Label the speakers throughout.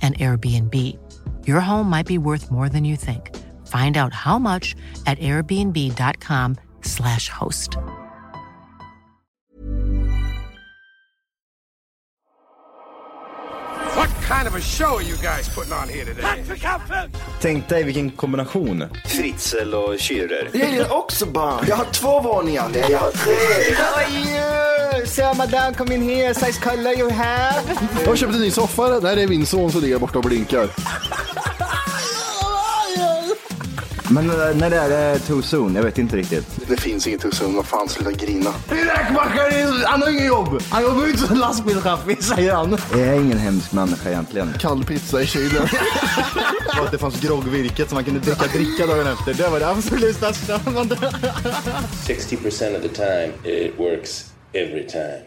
Speaker 1: an Airbnb. Your home might be worth more than you think. Find out how much at airbnb.com/slash host.
Speaker 2: What kind of a show are you guys putting on here today?
Speaker 3: Tänk dig vilken kombination.
Speaker 4: Fritzl och Schürrer.
Speaker 5: Jag gillar också barn. Jag har två våningar. Nej, jag har tre.
Speaker 6: you? So, madame, come in here. Size color you have?
Speaker 7: Jag köpte en ny soffa. Där är min son som ligger borta och blinkar.
Speaker 3: Men eh, när det är det too soon? Jag vet inte riktigt.
Speaker 5: Det finns inget tusen. Vad fan, sluta grina.
Speaker 7: Räkmackare, han har inget jobb. Han jobbar inte som lastbilschaffis, säger han.
Speaker 3: Jag är ingen hemsk människa egentligen.
Speaker 7: Kall pizza i kylen.
Speaker 3: Och att det fanns groggvirket som man kunde dricka dricka dagen efter. Det var det absolut största.
Speaker 4: 60% of the time it works every time.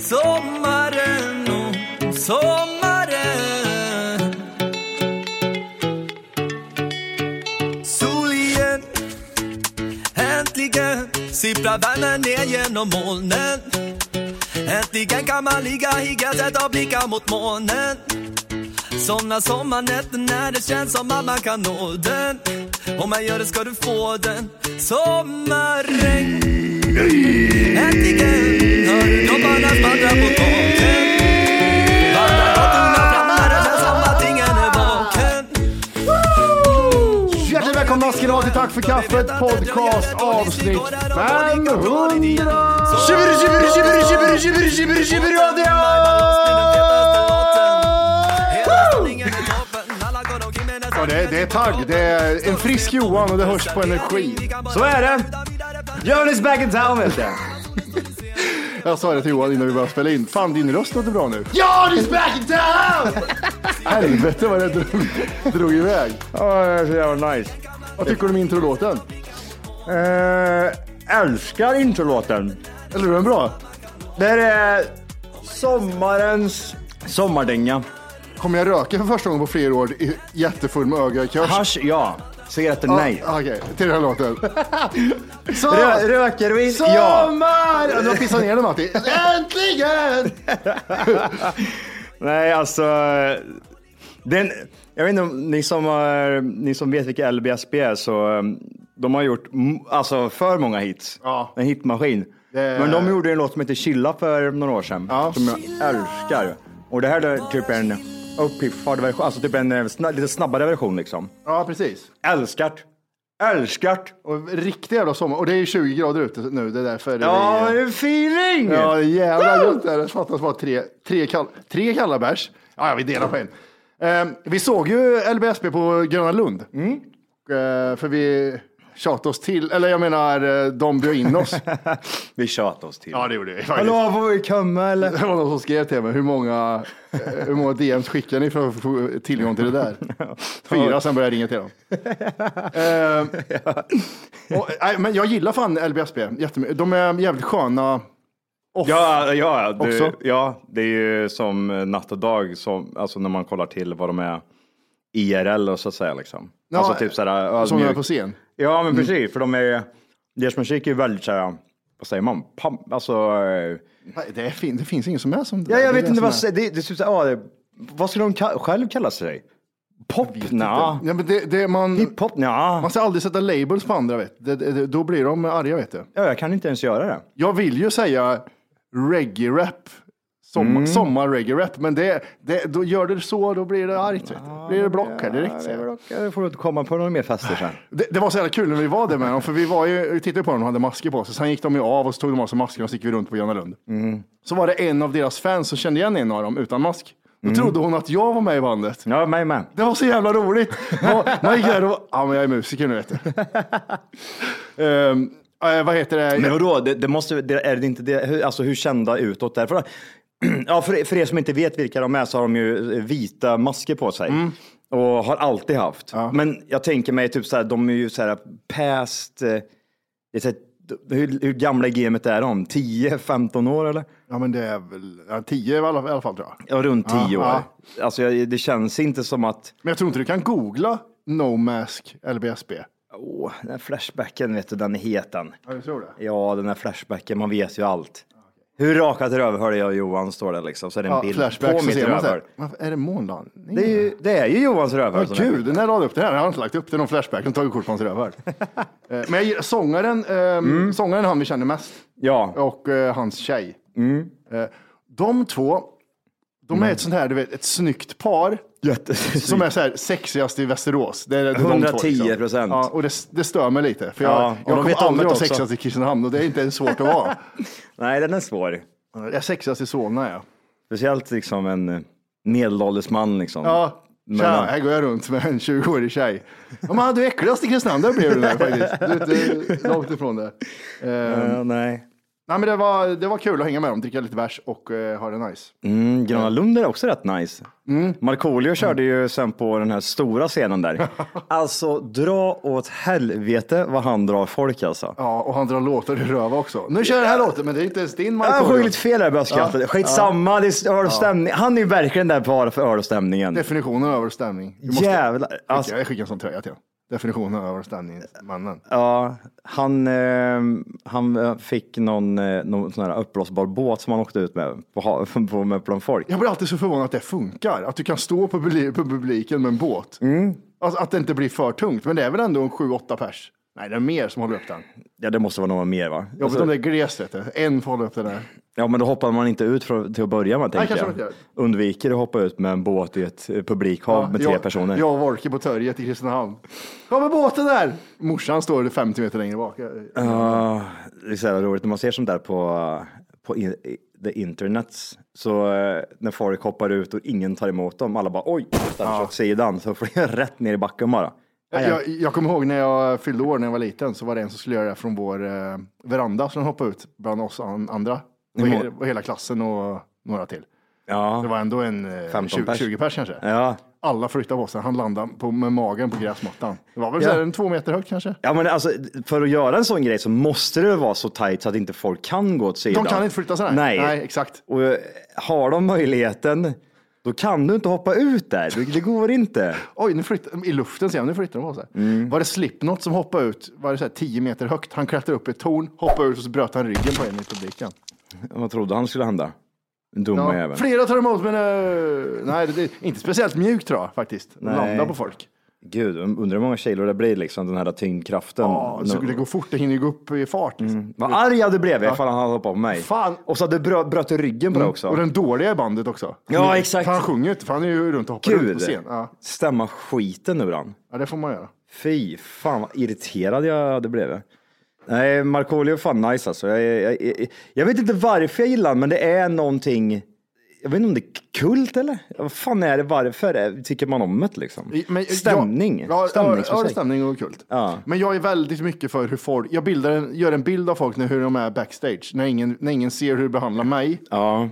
Speaker 8: Sommaren oh, och sommaren Sol igen, äntligen sipprar värmen ner genom molnen Äntligen kan man ligga i gräset och blicka mot månen Såna sommarnätter när det känns som att man kan nå den Om man gör det ska du få den Sommarregn Äntligen hör du dropparna skvallra på taken Vandrar gatorna fram när det känns som att ingen är vaken
Speaker 7: Hjärtligt välkomna ska ni vara till Tack för kaffet podcast avsnitt 500. Tjibiri, tjibiri, tjibiri, tjibiri, tjibiri, tjibiri, tjibiri, radio! Ja, det, är- det är tagg, det är en frisk Johan och det hörs på energi.
Speaker 3: Så är det. Björn is back in town vet jag.
Speaker 7: Jag sa det till Johan innan vi började spela in. Fan, din röst låter bra nu. Ja, det är back in town! Helvete vad det drog, drog iväg.
Speaker 3: Ja, det är så jävla nice.
Speaker 7: Vad tycker du om introlåten?
Speaker 3: Eh, älskar introlåten.
Speaker 7: Eller är den bra?
Speaker 3: Det här är sommarens sommardänga.
Speaker 7: Kommer jag röka för första gången på flera år i- jättefull med öga i kors?
Speaker 3: Hasch ja. Cigaretter
Speaker 7: Ja,
Speaker 3: nej.
Speaker 7: Okej, till den här låten. Så,
Speaker 3: Rö- röker vi? Ja.
Speaker 7: sommar! Ja. Du har pissat ner den Matti. Äntligen!
Speaker 3: Nej, alltså. Den, jag vet inte om ni som, har, ni som vet vilka LBSB är, så eh, de har gjort m- alltså, för många hits.
Speaker 7: Ja.
Speaker 3: En hitmaskin.
Speaker 7: Det-
Speaker 3: Men de gjorde en låt som heter Chilla för några år sedan,
Speaker 7: Ja.
Speaker 3: som jag älskar. Och det här är typ en uppiffad version, alltså typ en eh, sna- lite snabbare version liksom.
Speaker 7: Ja, precis.
Speaker 3: Älskat! Älskat!
Speaker 7: Och riktig jävla sommar. Och det är 20 grader ute nu. Det är därför
Speaker 3: Ja,
Speaker 7: det
Speaker 3: det
Speaker 7: är...
Speaker 3: är feeling!
Speaker 7: Ja, det är jävla gött där. Det fattas bara tre, tre, kall, tre kalla bärs. Ja, ja, vi delar på en. Ehm, vi såg ju LBSB på Gröna Lund. Ehm, för vi tjatade oss till, eller jag menar, eh, de bjöd in oss.
Speaker 3: Vi tjatar oss till.
Speaker 7: ja, det gjorde vi faktiskt.
Speaker 3: Hallå, får vi komma eller?
Speaker 7: Det var någon som skrev till mig, hur många, eh, hur många DMs skickar ni för att få tillgång till det där? Fyra, sen började jag ringa till dem. Eh, och, nej, men jag gillar fan LBSB jättemycket. De är jävligt sköna. Off.
Speaker 3: Ja, ja, ja,
Speaker 7: Också?
Speaker 3: du, ja, det är ju som natt och dag, som, alltså när man kollar till vad de är IRL och så att säga. Liksom.
Speaker 7: Ja,
Speaker 3: alltså typ sådär
Speaker 7: Som de är
Speaker 3: ödmjuk.
Speaker 7: på scen.
Speaker 3: Ja, men precis, för de är, deras musik är ju väldigt såhär, vad säger man, pump, alltså. eh,
Speaker 7: Nej, Det, är fin, det finns ingen som är som det.
Speaker 3: Ja,
Speaker 7: där.
Speaker 3: jag
Speaker 7: Det är
Speaker 3: vet inte
Speaker 7: som
Speaker 3: vad,
Speaker 7: är-
Speaker 3: det, det, är typ såhär, ja, det, vad skulle de ka- själv kalla sig? Pop? Nja.
Speaker 7: Ja, men det, det, man,
Speaker 3: Hiphop? Nja.
Speaker 7: man ska aldrig sätta labels på andra, vet. Det, det, det, då blir de arga. Vet du.
Speaker 3: Ja, jag kan inte ens göra det.
Speaker 7: Jag vill ju säga reggae-rap Sommar, Sommar-reggae-rap. Men det, det, då gör du så, då blir det argt. vet du. blir det block här direkt. så.
Speaker 3: Jag får du komma på några mer fester sen.
Speaker 7: Det, det var så jävla kul när vi var där med dem, för vi, var ju, vi tittade på dem och hade masker på sig. Sen gick de ju av och så tog de av sig maskerna och så gick vi runt på Gröna Lund. Så var det en av deras fans som kände igen en av dem utan mask. Då trodde hon att jag var med i bandet.
Speaker 3: Ja, mig med.
Speaker 7: Det var så jävla roligt. Man- Man gick där och ja men jag är musiker nu vet du. Ehm, eh, vad heter det?
Speaker 3: Men vadå, det, det måste, det, är det inte det, hur, alltså hur kända utåt därför? Ja, för, för er som inte vet vilka de är så har de ju eh, vita masker på sig. Och har alltid haft. Men jag tänker mig typ så här, de är ju så här past, eh, det är så här, hur, hur gamla i gamet är de? 10-15 år eller?
Speaker 7: Ja men det är väl ja, tio i alla, i alla fall tror jag.
Speaker 3: Ja, runt 10 år.
Speaker 7: ja.
Speaker 3: Alltså jag, det känns inte som att,
Speaker 7: Men jag tror inte du kan googla No Mask LBSB.
Speaker 3: åh, den här flashbacken vet du, den är het den.
Speaker 7: Ja, jag tror det.
Speaker 3: Ja, den här flashbacken, man vet ju allt. Hur rakat rövhål jag och Johan står det liksom, så är det en
Speaker 7: Ja,
Speaker 3: bild
Speaker 7: flashback
Speaker 3: på
Speaker 7: så
Speaker 3: mitt
Speaker 7: ser man så
Speaker 3: rövhål.
Speaker 7: här. Varför är det månlandning?
Speaker 3: Det är ju, det är ju Johans rövhål.
Speaker 7: Vad
Speaker 3: som är.
Speaker 7: kul, när jag la upp det här, jag har inte lagt upp det, någon flashback, de har tagit kort på hans rövhål. Eh, Men jag, gillar- sångaren, eh, sångaren är han vi känner mest
Speaker 3: Mm. Ja. Mm.
Speaker 7: och eh, hans tjej. Eh, de två, de är ett sånt här, du vet, ett snyggt par. Som är så här sexigast i Västerås. Det är, det är de två,
Speaker 3: 110%.
Speaker 7: liksom. Ja, och det, det stör mig lite. För jag,
Speaker 3: Ja, och de
Speaker 7: jag kommer
Speaker 3: vet om det
Speaker 7: aldrig vara
Speaker 3: också.
Speaker 7: sexigast i Kristinehamn och det är inte ens svårt att vara.
Speaker 3: Nej, den är svår.
Speaker 7: jag är sexigast i Solna, ja.
Speaker 3: Speciellt liksom en eh, medelålders man liksom.
Speaker 7: Ja,
Speaker 3: Men,
Speaker 7: tja,
Speaker 3: ja.
Speaker 7: eh, här går jag runt med en 20-årig tjej. Ja, men du är äckligast i Kristinehamn, där blev du där faktiskt. Du är inte långt ifrån det. Eh,
Speaker 3: Eh, nej.
Speaker 7: nej, men det var, det var kul att hänga med dem, dricka lite bärs och eh, ha det nice.
Speaker 3: Mm, Gröna Lund är också rätt nice.
Speaker 7: Mm.
Speaker 3: Markoolio körde ju sen på den här stora scenen där. Alltså dra åt helvete vad han drar folk alltså.
Speaker 7: Ja, och han drar låtar ur röva också. Nu kör jag den här låten, men det är inte ens din
Speaker 3: Ah, Jag sjöng
Speaker 7: Markoolio.
Speaker 3: lite fel där i bröstkraften.
Speaker 7: Ja.
Speaker 3: Skitsamma, det är öl och stämning. Han är ju verkligen där bara för öl och stämningen.
Speaker 7: Definitionen över stämning. Du måste-
Speaker 3: Jävlar. Alltså,
Speaker 7: Jag skickar en sån tröja till honom. Definitionen över stämningsmannen.
Speaker 3: Ja, han, eh, han eh, fick någon, eh, någon sån här uppblåsbar båt som han åkte ut med på, ha- på, med bland folk.
Speaker 7: Jag blir alltid så förvånad att det funkar, att du kan stå på, publi- på publiken med en båt.
Speaker 3: Mm.
Speaker 7: Alltså, att det inte blir för tungt, men det är väl ändå en 7-8 pers? Nej, det är mer som håller upp den.
Speaker 3: Ja, det måste vara någon mer va? Alltså,
Speaker 7: Jobbigt om det är glest, vet du. En får hålla upp det där.
Speaker 3: Ja, men då hoppar man inte ut för, till att börja med, tänker
Speaker 7: kanske
Speaker 3: jag.
Speaker 7: man inte
Speaker 3: Undviker att hoppa ut med en båt i ett eh, publikhav med tre
Speaker 7: jag,
Speaker 3: personer.
Speaker 7: Jag och Wolke på torget i Kristinehamn. Kommer båten där! Morsan står 50 meter längre bak.
Speaker 3: Ja, det är så jävla roligt när man ser sånt där på, på in, i- the internets. Så eh, när folk hoppar ut och ingen tar emot dem, alla bara oj, ställer sig åt sidan, så får jag rätt ner i backen bara.
Speaker 7: Jag, jag, jag kommer ihåg när jag fyllde år när jag var liten så var det en som skulle göra det från vår eh, veranda som hoppade ut bland oss an, andra. Och, he, och hela klassen och några till. Det
Speaker 3: Ja,
Speaker 7: var ändå en eh,
Speaker 3: 15
Speaker 7: 20,
Speaker 3: pers.
Speaker 7: 20 pers kanske.
Speaker 3: ja.
Speaker 7: Alla flyttade på sig. Han landade på, med magen på gräsmattan. Det var väl så
Speaker 3: Ja.
Speaker 7: här en två meter högt kanske.
Speaker 3: Ja, men alltså, för att göra en sån grej så måste det vara så tajt så att inte folk kan gå åt sidan.
Speaker 7: De kan inte flytta sig.
Speaker 3: Nej.
Speaker 7: Nej, exakt.
Speaker 3: Och eh, har de möjligheten, då kan du inte hoppa ut där. Det, det går inte.
Speaker 7: Oj, nu flyttar, i luften ser jag, nu flyttar de på sig. Var det Slipknot som hoppade ut, var det så här 10 meter högt? Han klättrade upp i ett torn, hoppade ut och så bröt han ryggen på en i publiken.
Speaker 3: Vad trodde han skulle hända? Den dumma
Speaker 7: Ja,
Speaker 3: jäveln.
Speaker 7: flera tar emot, men eh, nej, det, det, är inte speciellt mjukt tror jag faktiskt. Landa på folk.
Speaker 3: Gud, um, undrar hur många kilo det blir liksom, den här tyngdkraften.
Speaker 7: Ja, så
Speaker 3: Nu-
Speaker 7: det går fort, det hinner ju gå upp i fart. Liksom.
Speaker 3: Vad arg jag hade blivit ifall han hade hoppat på mig.
Speaker 7: Fan. Mm.
Speaker 3: Och så hade brö, bröt du ryggen på det också.
Speaker 7: Och den dåliga i bandet också.
Speaker 3: Ja, exakt.
Speaker 7: För han sjunger inte, för han är ju runt och hoppar ut på
Speaker 3: Gud,
Speaker 7: scen. Ja.
Speaker 3: stämma skiten ur han.
Speaker 7: ja, det får man göra.
Speaker 3: Fy fan vad irriterad jag hade blivit. Nej, Markoolio är fan nice alltså. Jag, jag, jag, jag vet inte varför jag gillar honom, men det är någonting. Jag vet inte om det är kult eller? Vad fan är det? Varför är- tycker man om det liksom?
Speaker 7: I- men jag-
Speaker 3: Stämning.
Speaker 7: Ja, ja,
Speaker 3: Stämningsmusik.
Speaker 7: ja, det är stämning och kult.
Speaker 3: Ja.
Speaker 7: Men jag är väldigt mycket för hur folk, jag bildar en, gör en bild av folk när, hur de är backstage, när ingen, när ingen ser hur de behandlar mig.
Speaker 3: Ja,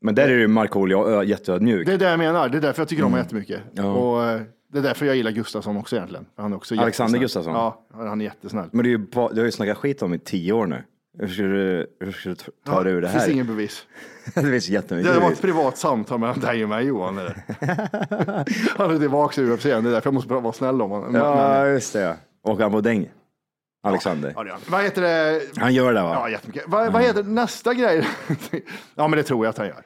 Speaker 3: men där är ju Markoolio ö- jätteödmjuk.
Speaker 7: Det är det jag menar, det är därför jag tycker om
Speaker 3: Mm.
Speaker 7: honom jättemycket. Och eh, det är därför jag gillar Gustafsson också egentligen. Han är också
Speaker 3: Alexander
Speaker 7: jättesnäll.
Speaker 3: Gustafsson?
Speaker 7: Ja, han är jättesnäll.
Speaker 3: Men det är ju bara, du har ju snackat skit om i tio år nu. Hur ska du, hur ska du ta ta dig ur det
Speaker 7: Det finns
Speaker 3: här?
Speaker 7: ingen bevis.
Speaker 3: det finns jättemycket.
Speaker 7: Det var ett
Speaker 3: bevis.
Speaker 7: privat samtal mellan dig och mig Johan. Eller? han är tillbaka i UFC igen, det är därför jag måste vara snäll om honom.
Speaker 3: Ja, just det. Och han på däng. Alexander.
Speaker 7: Ja, det är han. Vad heter det?
Speaker 3: Han gör det va?
Speaker 7: Ja, jättemycket. Vad, vad heter nästa grej? ja, men det tror jag att han gör.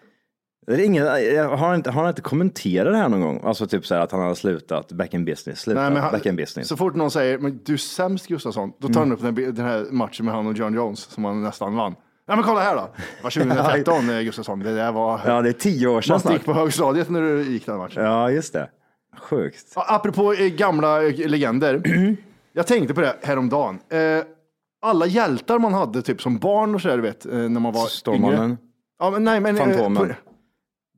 Speaker 3: Det är ingen, har, han inte, har han inte kommenterat det här någon gång? Alltså typ så här att han har slutat back in business. Slutat
Speaker 7: Nej, men han-
Speaker 3: back in business.
Speaker 7: Så fort någon säger men du är sämst Gustafsson, då tar han upp den, den här matchen med han och John Jones som han nästan vann. Ja men kolla här då. Det var 2013 eh, Gustafsson. Det där var...
Speaker 3: Ja, det är tio år sedan
Speaker 7: man gick
Speaker 3: snart.
Speaker 7: på högstadiet när du gick den matchen.
Speaker 3: Ja, just det. Sjukt.
Speaker 7: Ja, apropå eh, gamla eh, legender. Jag tänkte på det häromdagen. Eh, alla hjältar man hade typ som barn och sådär du vet. eh, När man var yngre.
Speaker 3: Stormannen,
Speaker 7: Ja, men, nej, men, eh,
Speaker 3: Fantomen,
Speaker 7: på-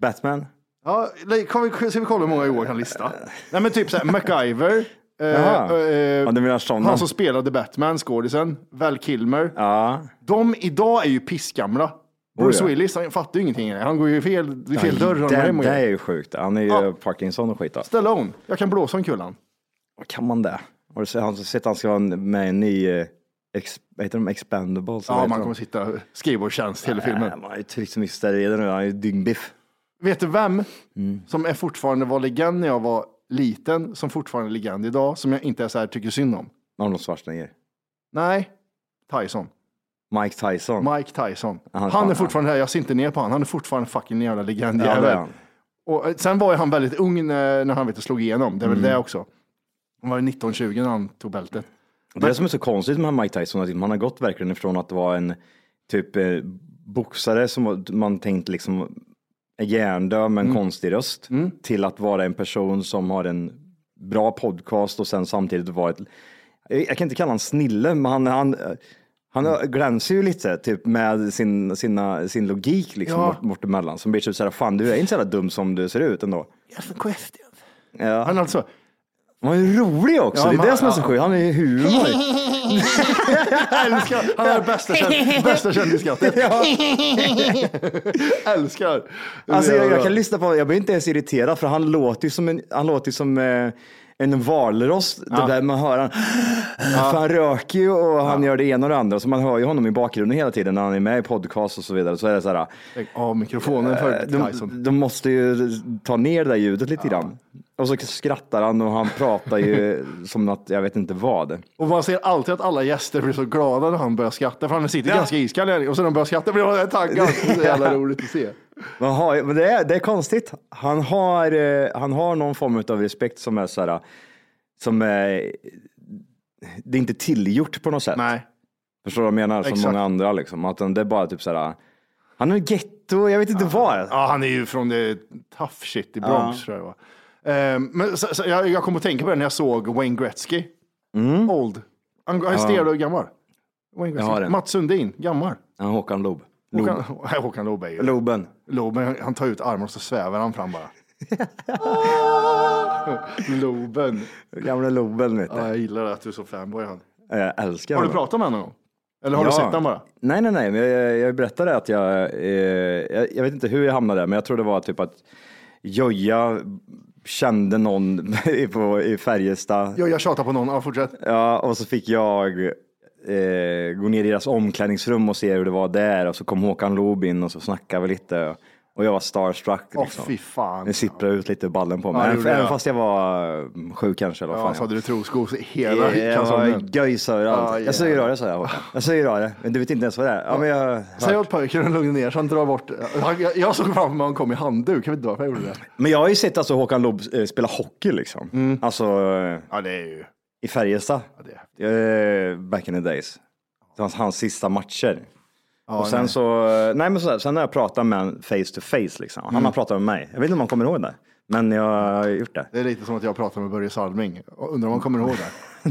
Speaker 3: Batman.
Speaker 7: Ja, nej, kom vi, ska vi kolla hur många i år kan lista? Nej men typ såhär MacGyver. Eh,
Speaker 3: Jaha.
Speaker 7: eh,
Speaker 3: Ja, du menar sådana.
Speaker 7: han som spelade Batman, skådisen. Val Kilmer.
Speaker 3: Ja,
Speaker 7: De idag är ju pissgamla. Bruce
Speaker 3: Oj, ja.
Speaker 7: Willis, han fattar ju ingenting. Han går ju i fel, i fel dörr. när han är
Speaker 3: den,
Speaker 7: hemma
Speaker 3: det är
Speaker 7: igen.
Speaker 3: ju sjukt. Han är ju
Speaker 7: Ja.
Speaker 3: Parkinson och skit. då.
Speaker 7: Stallone, jag kan blåsa om kullan.
Speaker 3: Kan man det? Har du sett han, sett han ska vara med i en ny, eh, ex, vad heter de, Expendables? Vad
Speaker 7: Ja,
Speaker 3: heter
Speaker 7: man
Speaker 3: de?
Speaker 7: kommer sitta skrivbordstjänst hela
Speaker 3: Nej,
Speaker 7: filmen.
Speaker 3: man har ju tryckt så mycket steroider nu, han är ju dyngbiff.
Speaker 7: Vet du vem
Speaker 3: Mm.
Speaker 7: som är fortfarande var legend när jag var liten, som fortfarande är legend idag, som jag inte är så här tycker synd om?
Speaker 3: Arnold Schwarzenegger.
Speaker 7: Nej, Tyson.
Speaker 3: Mike Tyson.
Speaker 7: Mike Tyson.
Speaker 3: Han är
Speaker 7: Han,
Speaker 3: fan-
Speaker 7: är fortfarande här, jag ser inte ner på honom. Han är fortfarande fucking jävla legend.
Speaker 3: ja, det är
Speaker 7: jävel.
Speaker 3: han.
Speaker 7: Och eh, sen var ju han väldigt ung eh, när, när han vet, du, slog igenom. Det är väl
Speaker 3: Mm.
Speaker 7: det också. Han var ju 19-20 när han tog bältet.
Speaker 3: Det är det som är så konstigt med Mike Tyson, att man har gått verkligen ifrån att vara en typ eh, boxare som var- man tänkt liksom är hjärndöd med en
Speaker 7: Mm.
Speaker 3: konstig röst, till att vara en person som har en bra podcast och sen samtidigt vara ett, jag kan inte kalla honom snille, men han, han,
Speaker 7: Mm.
Speaker 3: han glänser ju lite typ med sin, sina, sin logik liksom
Speaker 7: Ja.
Speaker 3: bort, bort emellan, som blir typ så här, fan du är inte så jävla dum som du ser ut ändå.
Speaker 7: Han alltså,
Speaker 3: Han är ju rolig också,
Speaker 7: Ja,
Speaker 3: det är
Speaker 7: men-
Speaker 3: det som är så
Speaker 7: ja.
Speaker 3: sjukt, han är ju humor.
Speaker 7: älskar, han är bästa, känd, bästa kändisskrattet. älskar.
Speaker 3: Alltså jag, jag kan lyssna på honom, jag blir inte ens irriterad för han låter ju som en, han låter ju som eh, en valross. Det där man hör han, för han röker ju och han gör det ena och det andra. Så man hör ju honom i bakgrunden hela tiden när han är med i podcast och så vidare. Så är det så här, eh,
Speaker 7: Lägg av "Ah, mikrofonen för
Speaker 3: de,
Speaker 7: Tyson.
Speaker 3: de måste ju ta ner det där ljudet lite grann. Och så skrattar han och han pratar ju som att jag vet inte vad.
Speaker 7: Och man ser alltid att alla gäster blir så glada när han börjar skratta, för han sitter
Speaker 3: Ja.
Speaker 7: ganska iskall här, och sen när han börjar skratta blir han taggad. Det är så jävla roligt att se.
Speaker 3: Man har, men det, är, det är konstigt. Han har, eh, han har någon form av respekt som är så här, som är, det är inte tillgjort på något sätt.
Speaker 7: Nej.
Speaker 3: Förstår du vad jag menar? Som
Speaker 7: Exakt.
Speaker 3: många andra liksom. Att det är bara typ så här, han är en getto, jag vet inte vad.
Speaker 7: Ah. Ja, han är ju från det tough shit i Bronx tror jag det var. Ehm, men så, så, jag, jag kom att tänka på det när jag såg Wayne Gretzky. Old. Han han är stel och gammal. Wayne
Speaker 3: Mm. Jag har
Speaker 7: Gretzky.
Speaker 3: den.
Speaker 7: Mats Sundin, gammal.
Speaker 3: Ja, Håkan Loob. Loob.
Speaker 7: Håkan, Håkan Loob är ju...
Speaker 3: Looben.
Speaker 7: Loben, han tar ut armen och så svävar han fram bara. Loben.
Speaker 3: Gamla Looben vet du.
Speaker 7: Ja, jag gillar att du är så fanboy han.
Speaker 3: Jag älskar
Speaker 7: Har du
Speaker 3: honom.
Speaker 7: pratat med honom någon gång? Eller har du
Speaker 3: Ja.
Speaker 7: sett honom bara?
Speaker 3: Nej, nej, nej. men Jag, jag berättade att jag, eh, jag, jag vet inte hur jag hamnade där, men jag tror det var typ att Joja kände någon i- på, i Färjestad.
Speaker 7: Ja, jag tjatar på någon. Ja, fortsätt.
Speaker 3: Ja, och så fick jag eh, gå ner i deras omklädningsrum och se hur det var där och så kom Håkan Loob in och så snackade vi lite och jag var starstruck.
Speaker 7: Åh,
Speaker 3: Liksom.
Speaker 7: fy fan.
Speaker 3: det sipprade ut lite ballen på
Speaker 7: Ja,
Speaker 3: mig,
Speaker 7: det
Speaker 3: även,
Speaker 7: gjorde
Speaker 3: även
Speaker 7: jag.
Speaker 3: fast jag var eh, sju kanske. Eller vad
Speaker 7: Ja,
Speaker 3: fan
Speaker 7: så
Speaker 3: jag
Speaker 7: hade du troskos i hela
Speaker 3: var. jag
Speaker 7: kalsongen.
Speaker 3: var göjsöra.
Speaker 7: Ja,
Speaker 3: Jag sög röret sa jag Håkan. Jag sög röret, men du vet inte ens vad det är. Ja, men jag,
Speaker 7: Säg åt pojken att lugna ner sig, han drar bort. Han, jag, jag såg framför mig att han kom i handduk, jag vet inte varför jag gjorde det.
Speaker 3: Men jag har ju sett alltså Håkan Loob eh, spela hockey liksom. Alltså eh,
Speaker 7: Ja, det är ju...
Speaker 3: i Färjestad.
Speaker 7: Mm. det är
Speaker 3: Eh, back in the days. Det var Hans, hans sista matcher. och sen
Speaker 7: nej.
Speaker 3: så, eh, nej men sådär, sen har jag pratat med honom face to face liksom. Han
Speaker 7: Mm.
Speaker 3: har pratat med mig. Jag vet inte om han kommer ihåg det. Men jag har gjort det.
Speaker 7: Det är lite som att jag pratar med Börje Salming. Och Undrar om han kommer ihåg det.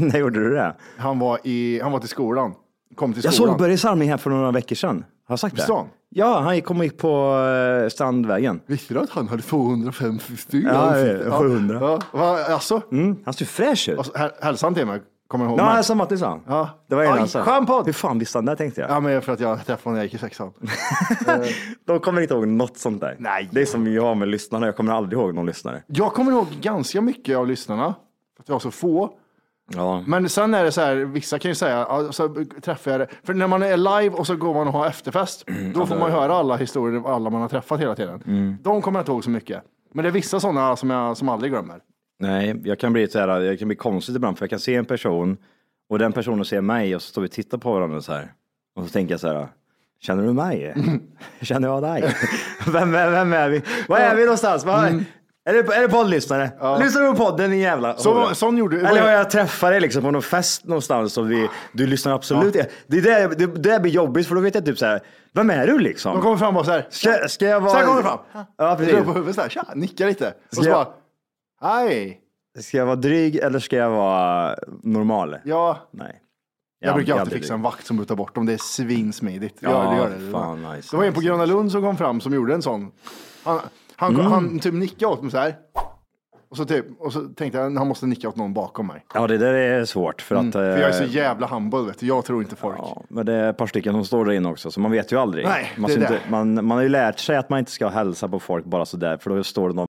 Speaker 3: när gjorde du det?
Speaker 7: Han var, i, han var till skolan. Kom till
Speaker 3: Jag
Speaker 7: skolan.
Speaker 3: såg Börje Salming här för några veckor sedan. Har jag sagt det?
Speaker 7: Sa han?
Speaker 3: Ja, han gick- kom och gick på eh, Strandvägen.
Speaker 7: Visste du att han hade 250 stycken?
Speaker 3: Ja, ja, 700.
Speaker 7: Ja, va, alltså?
Speaker 3: Mm. alltså- Han ser fräsch ut.
Speaker 7: alltså här- Hälsade han till mig? Kommer du ihåg
Speaker 3: Ja,
Speaker 7: mig?
Speaker 3: jag sa Mattis han.
Speaker 7: Ja.
Speaker 3: Det var en
Speaker 7: Aj,
Speaker 3: han sa.
Speaker 7: skön podd!
Speaker 3: Hur fan visste han det tänkte jag.
Speaker 7: Ja, men för att jag träffade honom när jag gick i sexan.
Speaker 3: De kommer inte ihåg något sånt där.
Speaker 7: Nej.
Speaker 3: Det är som jag med lyssnarna, jag kommer aldrig ihåg någon lyssnare.
Speaker 7: Jag kommer ihåg ganska mycket av lyssnarna. För att jag har så få.
Speaker 3: Ja.
Speaker 7: Men sen är det så här, vissa kan ju säga, ja, så träffar jag det. För när man är live och så går man och har efterfest,
Speaker 3: Mm.
Speaker 7: då får man ju höra alla historier av alla man har träffat hela tiden. De kommer jag inte ihåg så mycket. Men det är vissa sådana som jag som aldrig glömmer.
Speaker 3: Nej, jag kan bli så här, jag kan bli konstigt ibland, för jag kan se en person och den personen ser mig och så står vi och tittar på varandra så här. Och så tänker jag så här, känner
Speaker 7: Mm.
Speaker 3: du mig? Känner jag dig? vem, är, vem är vi? Var är vi någonstans? Var, Är det, är det poddlyssnare? Lyssnar du på podden din jävla
Speaker 7: Så-
Speaker 3: hora?
Speaker 7: sån gjorde-
Speaker 3: Eller har jag träffat dig liksom på någon fest någonstans och vi, du lyssnar absolut ja. Det där det, där blir jobbigt för då vet jag typ så här. vem är du liksom?
Speaker 7: De kommer fram och så här.
Speaker 3: Ska, ska jag vara...
Speaker 7: Så här kommer de fram.
Speaker 3: Ja, precis.
Speaker 7: Drar på huvudet så här, tja, nickar lite. Och så
Speaker 3: Ska jag-
Speaker 7: bara, hej.
Speaker 3: Ska jag vara dryg eller ska jag vara normal?
Speaker 7: Ja,
Speaker 3: Nej.
Speaker 7: jag brukar alltid
Speaker 3: aldrig
Speaker 7: fixa
Speaker 3: dryg.
Speaker 7: en vakt som tar bort dem. Det är svinsmidigt.
Speaker 3: Ja,
Speaker 7: gör det, gör det.
Speaker 3: fan,
Speaker 7: det
Speaker 3: nice,
Speaker 7: var en
Speaker 3: nice, Mm.
Speaker 7: på Gröna Lund som kom fram som gjorde en sån. Han, han, han typ nickade åt mig så här. Och så, typ, och så tänkte jag, han måste nicka åt någon bakom mig.
Speaker 3: Ja, det där är svårt för att...
Speaker 7: Mm, För jag är så
Speaker 3: eh,
Speaker 7: jävla humble, vet du. Jag tror inte folk.
Speaker 3: Ja, men det är ett par stycken som står där inne också, så man vet ju aldrig.
Speaker 7: Nej,
Speaker 3: man,
Speaker 7: det är
Speaker 3: ska
Speaker 7: det.
Speaker 3: inte, man, man har ju lärt sig att man inte ska hälsa på folk bara sådär, för då står det någon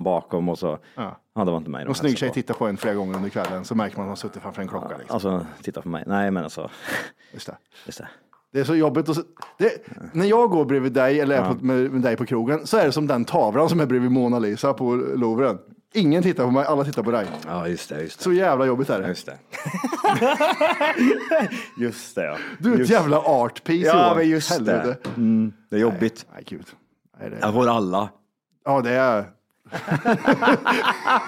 Speaker 3: bakom och så...
Speaker 7: Ja.
Speaker 3: Ja, det var inte mig. Alltså, de
Speaker 7: Någon snygg
Speaker 3: hälsade
Speaker 7: tjej
Speaker 3: på.
Speaker 7: tittar på en flera gånger under kvällen så märker man att hon har suttit framför en klocka. Liksom.
Speaker 3: Alltså, titta på mig. Nej, men alltså...
Speaker 7: Just det.
Speaker 3: Just det.
Speaker 7: Det är så jobbigt. Och så, det, när jag går bredvid dig eller är på, med, med dig på krogen så är det som den tavlan som är bredvid Mona Lisa på Louvren. Ingen tittar på mig, alla tittar på dig.
Speaker 3: Ja, just det, just det.
Speaker 7: Så jävla jobbigt är det.
Speaker 3: Just det. just det, ja.
Speaker 7: Du är ett
Speaker 3: just,
Speaker 7: jävla art piece
Speaker 3: Ja,
Speaker 7: Johan.
Speaker 3: men just
Speaker 7: Helvete.
Speaker 3: det. Mm, det är jobbigt.
Speaker 7: Nej, gud. Nej, det,
Speaker 3: Jag får alla.
Speaker 7: ja, det är... Eh,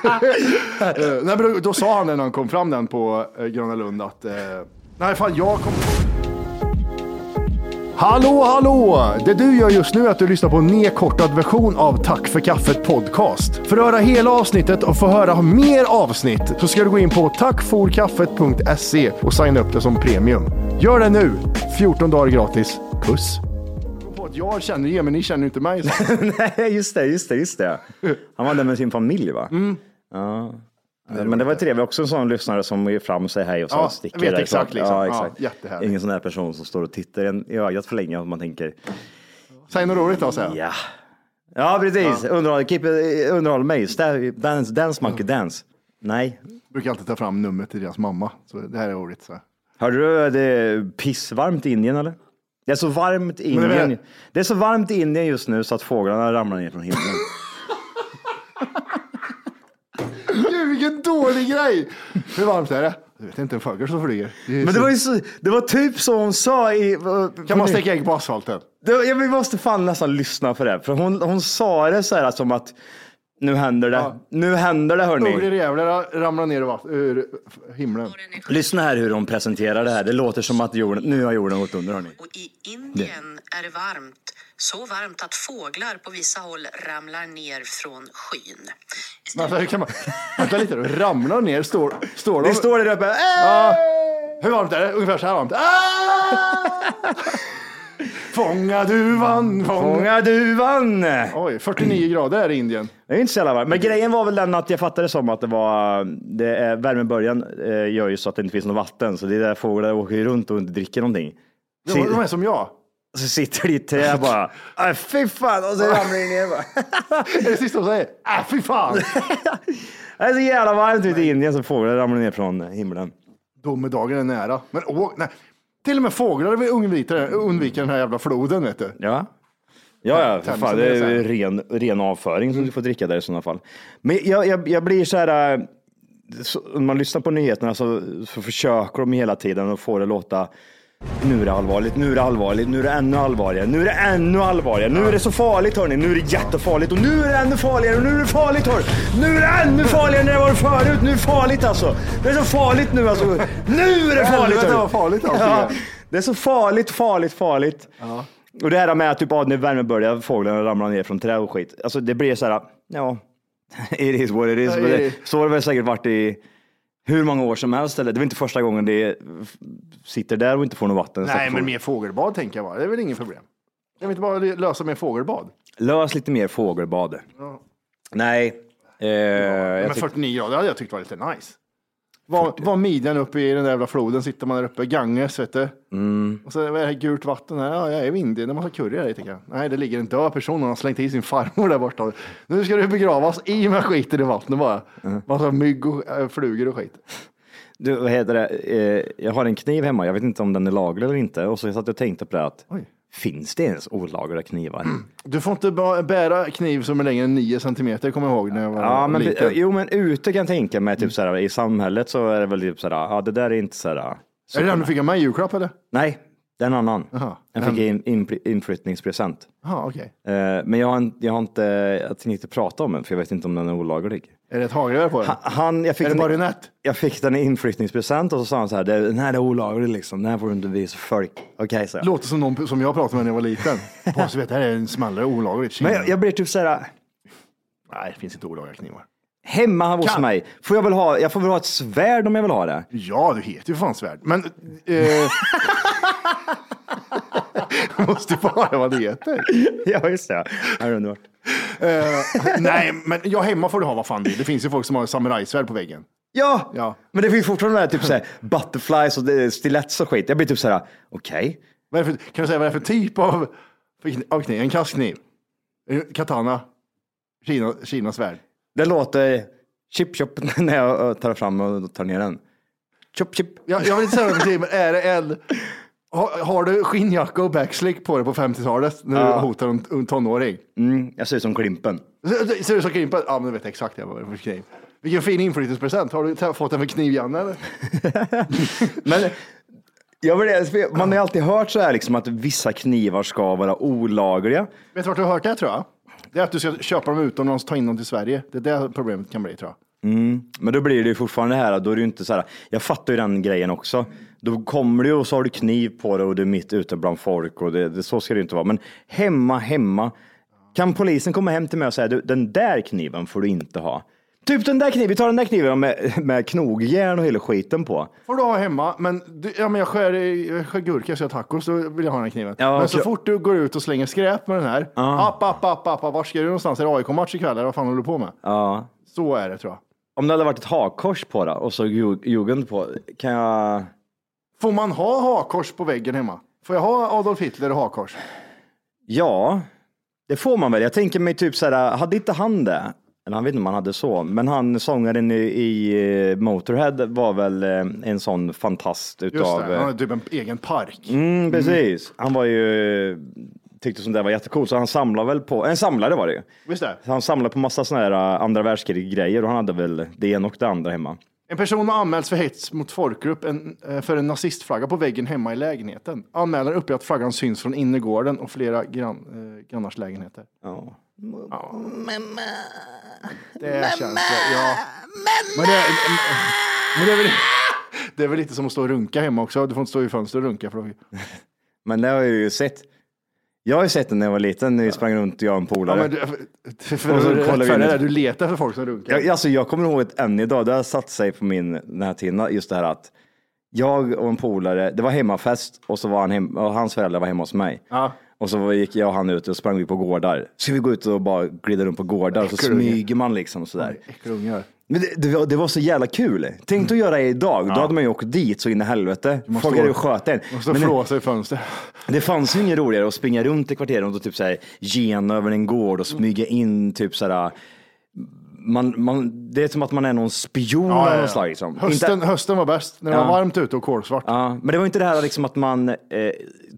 Speaker 7: Nej, men då, då sa han när han kom fram den på eh, Gröna Lund att... Eh, nej, fan, jag kom... Hallå, hallå! Det du gör just nu är att du lyssnar på en nedkortad version av Tack för kaffet podcast. För att höra hela avsnittet och få höra mer avsnitt så ska du gå in på tackforkaffet.se och signa upp det som premium. Gör det nu! 14 dagar gratis. Puss! Jag känner er, men ni känner inte mig.
Speaker 3: Nej, just det, just det, just det. Han var där med sin familj, va? Ja. Men Mm. det var trevligt, också en sån lyssnare som ger fram sig hej och sen
Speaker 7: Ja,
Speaker 3: sticker
Speaker 7: jag vet
Speaker 3: därifrån.
Speaker 7: exakt liksom.
Speaker 3: Ja,
Speaker 7: Ja,
Speaker 3: exakt.
Speaker 7: jättehärligt.
Speaker 3: Ingen sån där person som står och tittar en i ögat för länge och man tänker,
Speaker 7: Säg något roligt då, säger jag.
Speaker 3: ja. Ja, Mm. precis. Underhåll, keep, it- underhåll mig. Sta- Dance, dance monkey, dance. Nej.
Speaker 7: brukar alltid ta fram numret till deras mamma. Så det här är roligt. Så. här.
Speaker 3: Hörde du, att det är pissvarmt i Indien eller? Det är så varmt i
Speaker 7: Men det är väl-
Speaker 3: Indien. Det är så varmt i Indien just nu så att fåglarna ramlar ner från himlen.
Speaker 7: Gud, vilken dålig grej! Hur varmt är det? Du vet inte en fågel som flyger. Det är
Speaker 3: Men
Speaker 7: så-
Speaker 3: det var, ju så, det var typ så hon sa i...
Speaker 7: Kan man steka ägg på asfalten?
Speaker 3: Det, ja, vi måste fan nästan lyssna på det. För hon, hon sa det så här som att nu händer det.
Speaker 7: Ja.
Speaker 3: Nu händer det
Speaker 7: Ugglor
Speaker 3: hörni.
Speaker 7: jävlar ramlar ner i vatt- ur himlen.
Speaker 3: Lyssna här hur hon presenterar det här. Det låter som att jorden, nu har jorden gått under hörni.
Speaker 9: Och i Indien är det varmt. Så varmt att fåglar på vissa håll ramlar ner från skyn.
Speaker 7: Men alltså, hur kan man... Vänta lite, då. ramlar ner, står, står de...
Speaker 3: Det står där uppe.
Speaker 7: Ah,
Speaker 3: Äh!
Speaker 7: hur varmt är det? Ungefär så här varmt. Ah! fånga duvan, fånga...
Speaker 3: Fånga duvan. Det
Speaker 7: Oj, 49 grader är det i Indien.
Speaker 3: är inte så jävla varmt. Men grejen var väl den att jag fattade som att det var, det är, värmeböljan eh, gör ju så att det inte finns något vatten. Så det är där fåglar åker ju runt och inte dricker någonting.
Speaker 7: De,
Speaker 3: Si-
Speaker 7: de är som jag.
Speaker 3: Så sitter de i ett träd bara. "Aj, Fy fan, och så ramlar de ner bara.
Speaker 7: Det är det sista de säger. Äh, fy fan!
Speaker 3: Det är så jävla varmt ute i Indien så fåglar ramlar ner från himlen.
Speaker 7: Domedagen är nära. Men å, nej. Till och med fåglar vill undvika, undvika den här jävla floden. Vet du.
Speaker 3: Ja. Ja, ja, för
Speaker 7: Tänk
Speaker 3: fan,
Speaker 7: som
Speaker 3: det
Speaker 7: det
Speaker 3: är
Speaker 7: är
Speaker 3: ju ren, ren avföring som du får dricka där i sådana fall. Men jag, jag, jag blir så här, äh, så, när man lyssnar på nyheterna så, så försöker de hela tiden att få det att låta nu är det allvarligt, nu är det allvarligt, nu är det ännu allvarligare, nu är det ännu allvarligare, nu är det så farligt hörni, nu är det jättefarligt och nu är det ännu farligare och nu är det farligt hörni, nu är det ännu farligare än det var förut, nu är det farligt alltså. Det är så farligt nu alltså, nu är det farligt
Speaker 7: Helvete
Speaker 3: hörni.
Speaker 7: vad farligt allting
Speaker 3: ja,
Speaker 7: är.
Speaker 3: Det är så farligt, farligt, farligt. Och det här med att typ, ah, nu värmebölja, fåglarna ramlar ner från träd och skit. Alltså det blir så här, ja, it is what it is.
Speaker 7: Ja,
Speaker 3: Men
Speaker 7: it
Speaker 3: det-
Speaker 7: is.
Speaker 3: Så har det väl säkert varit i hur många år som helst. Eller? Det är väl inte första gången det sitter där och inte får något vatten.
Speaker 7: Nej, men mer fågelbad tänker jag bara. Det är väl inget problem. Kan vi inte bara lösa med fågelbad?
Speaker 3: Lös lite mer fågelbad.
Speaker 7: Ja.
Speaker 3: Nej. Eh, jag
Speaker 7: Men
Speaker 3: tyck-
Speaker 7: 49 grader hade jag tyckt var lite nice. Var, var midjan uppe i den där jävla floden sitter man där uppe, Ganges vet du.
Speaker 3: mm.
Speaker 7: Och så är det här gult vatten här, ja jag är vindig, det är massa curry här i, tänker jag. Nej, det ligger en död person och har slängt i sin farmor där borta. Nu ska du begravas i med skiten i vattnet bara. Massa mygg och eh, flugor och skit.
Speaker 3: Du, vad heter det? Eh, jag har en kniv hemma, jag vet inte om den är laglig eller inte. Och så satt jag och tänkte på det att finns det ens olagliga knivar?
Speaker 7: Du får inte ba- bära kniv som är längre än 9 centimeter, kommer jag ihåg när jag var
Speaker 3: Ja, men,
Speaker 7: liten.
Speaker 3: jo, men ute kan jag tänka mig,
Speaker 7: Mm.
Speaker 3: typ, såhär, i samhället så är det väl typ såhär, ja det där är inte såhär.
Speaker 7: är det den du fick av mig i julklapp eller?
Speaker 3: Nej, det är en annan.
Speaker 7: Jaha.
Speaker 3: Den fick jag i in, in, inflyttningspresent.
Speaker 7: Ja, okej.
Speaker 3: Eh, men jag har, en- jag har inte, jag tänkte inte prata om den, för jag vet inte om den är olaglig.
Speaker 7: Är det ett hagelgevär på den?
Speaker 3: Han, jag fick
Speaker 7: Är det
Speaker 3: den,
Speaker 7: bajonett?
Speaker 3: Jag fick den i inflyttningspresent och så sa han så här, "Det- den här är olaglig liksom, den här får du inte visa folk. Okej, så jag.
Speaker 7: Låter som någon som jag pratade med när jag var liten. Påstår att det här är en smallare olagligt. Tjena.
Speaker 3: Men jag, jag blir typ så här,
Speaker 7: Nej, det finns inte olagliga knivar.
Speaker 3: hemma hos
Speaker 7: Kan-
Speaker 3: mig, får jag, väl ha, jag får väl ha ett svärd om jag vill ha det.
Speaker 7: Ja, du heter ju fan svärd. Men... Eh... måste bara vad det heter.
Speaker 3: ja, just det. Här är underbart.
Speaker 7: Eh, nej, men jag hemma får du ha vad fan du vill. Det finns ju folk som har samurajsvärd på väggen.
Speaker 3: Ja,
Speaker 7: Ja.
Speaker 3: men det finns fortfarande det här, typ så här, butterflies och det- stiletts och skit. Jag blir typ så här, okej.
Speaker 7: Vad är det för, kan du säga vad det är för typ av, för kni- av kniv? En kastkniv? En Katana? Kina, Kinas svärd?
Speaker 3: Det låter chip chop när jag ö, tar fram och tar ner den. Chop chip.
Speaker 7: Jag, jag vill inte säga vad det är för typ, men är det en... Har, har du skinnjacka och backslick på dig på 50-talet när du
Speaker 3: Ja.
Speaker 7: hotar en, en tonåring?
Speaker 3: Mm, jag ser ut som Klimpen.
Speaker 7: Ser- Ser du så krimpad? Ja, men du vet jag exakt vad det är för kniv. Vilken fin inflyttningspresent. Har du ta- fått den för kniv, Janne? eller?
Speaker 3: Men jag vill, man har ju alltid hört så här liksom att vissa knivar ska vara olagliga.
Speaker 7: Vet du vart du har hört det, tror jag? Det är att du ska köpa dem utomlands och ta in dem till Sverige. Det är där problemet kan bli, tror jag.
Speaker 3: Mm. Men då blir det ju fortfarande det här, då är det ju inte så här, jag fattar ju den grejen också. Då kommer du och så har du kniv på dig och du är mitt ute bland folk och det, det, så ska det ju inte vara. Men hemma, hemma, kan polisen komma hem till mig och säga du, den där kniven får du inte ha. Typ den där kniven, vi tar den där kniven med, med knogjärn och hela skiten på.
Speaker 7: får du ha hemma, men, du, ja, men jag, skär, i- jag skär gurka så jag har tacos, då vill jag ha den här kniven.
Speaker 3: Ja,
Speaker 7: men så
Speaker 3: okej.
Speaker 7: fort du går ut och slänger skräp med den här, app, app, app, app, app, vart ska du någonstans? Är det AIK-match ikväll eller vad fan håller du på med?
Speaker 3: Ja.
Speaker 7: Så är det tror jag.
Speaker 3: Om det hade varit ett hakkors på det och så ju- jugend på, kan jag...
Speaker 7: Får man ha hakkors på väggen hemma? Får jag ha Adolf Hitler och hakkors?
Speaker 3: Ja, det får man väl. Jag tänker mig typ så här, hade inte han det? Eller han vet inte om han hade så, men han sångaren i, i eh, Motorhead var väl eh, en sån fantast
Speaker 7: Just
Speaker 3: utav...
Speaker 7: det,
Speaker 3: eh,
Speaker 7: han har typ en egen park.
Speaker 3: Mm, precis. Han var ju, eh, tyckte som det var jättecoolt, så han samlade väl på, en samlare var det ju.
Speaker 7: Visst det?
Speaker 3: Så han samlade på massa såna här eh, andra världskrig-grejer och han hade väl det ena och det andra hemma.
Speaker 7: En person har anmälts för hets mot folkgrupp en, eh, för en nazistflagga på väggen hemma i lägenheten. Anmälaren uppger att flaggan syns från innergården och flera grann, eh, grannars lägenheter.
Speaker 3: Ja.
Speaker 7: Det känns det, ja. Men det, men det, är väl, det är väl lite som att stå och runka hemma också. Du får inte stå i fönstret och runka. För då,
Speaker 3: Men det har jag ju sett. Jag har ju sett den när jag var liten, när jag sprang runt jag och en
Speaker 7: ja,
Speaker 3: polare.
Speaker 7: men, du- för, för,
Speaker 3: Och så
Speaker 7: att
Speaker 3: kollar vi
Speaker 7: rättfärdiga
Speaker 3: in-
Speaker 7: det här, du letar efter folk som runkar.
Speaker 3: Jag, alltså, jag kommer ihåg ett än idag, det har satt sig på min den här tiden, just det här att jag och en polare, det var hemmafest och så var han hem, och hans föräldrar var hemma hos mig.
Speaker 7: Ja.
Speaker 3: Och så gick jag och han ut och sprang ut på gårdar. Ska vi gå ut och bara glida runt på gårdar och så
Speaker 7: Äckelunge.
Speaker 3: smyger man liksom och sådär.
Speaker 7: Äckelungar.
Speaker 3: Men det, det, var, det var så jävla kul. Tänk att göra det idag. Då hade man ju åkt dit så in i helvete.
Speaker 7: Mm. måste
Speaker 3: Frågade
Speaker 7: vara-
Speaker 3: hur sköt en.
Speaker 7: Och så
Speaker 3: Men det-
Speaker 7: flåsa i fönstret.
Speaker 3: det fanns ju inget roligare att springa runt i kvarteren och då typ så här, gena över en gård och smyga in typ så här. mm, Man, man, det är som att man är någon spion
Speaker 7: Ja,
Speaker 3: av
Speaker 7: ja, ja.
Speaker 3: något slag. Liksom.
Speaker 7: Hösten,
Speaker 3: Inte,
Speaker 7: hösten var bäst, när det var
Speaker 3: Ja.
Speaker 7: varmt ute och kolsvart.
Speaker 3: ja, men det var inte det här liksom att man eh,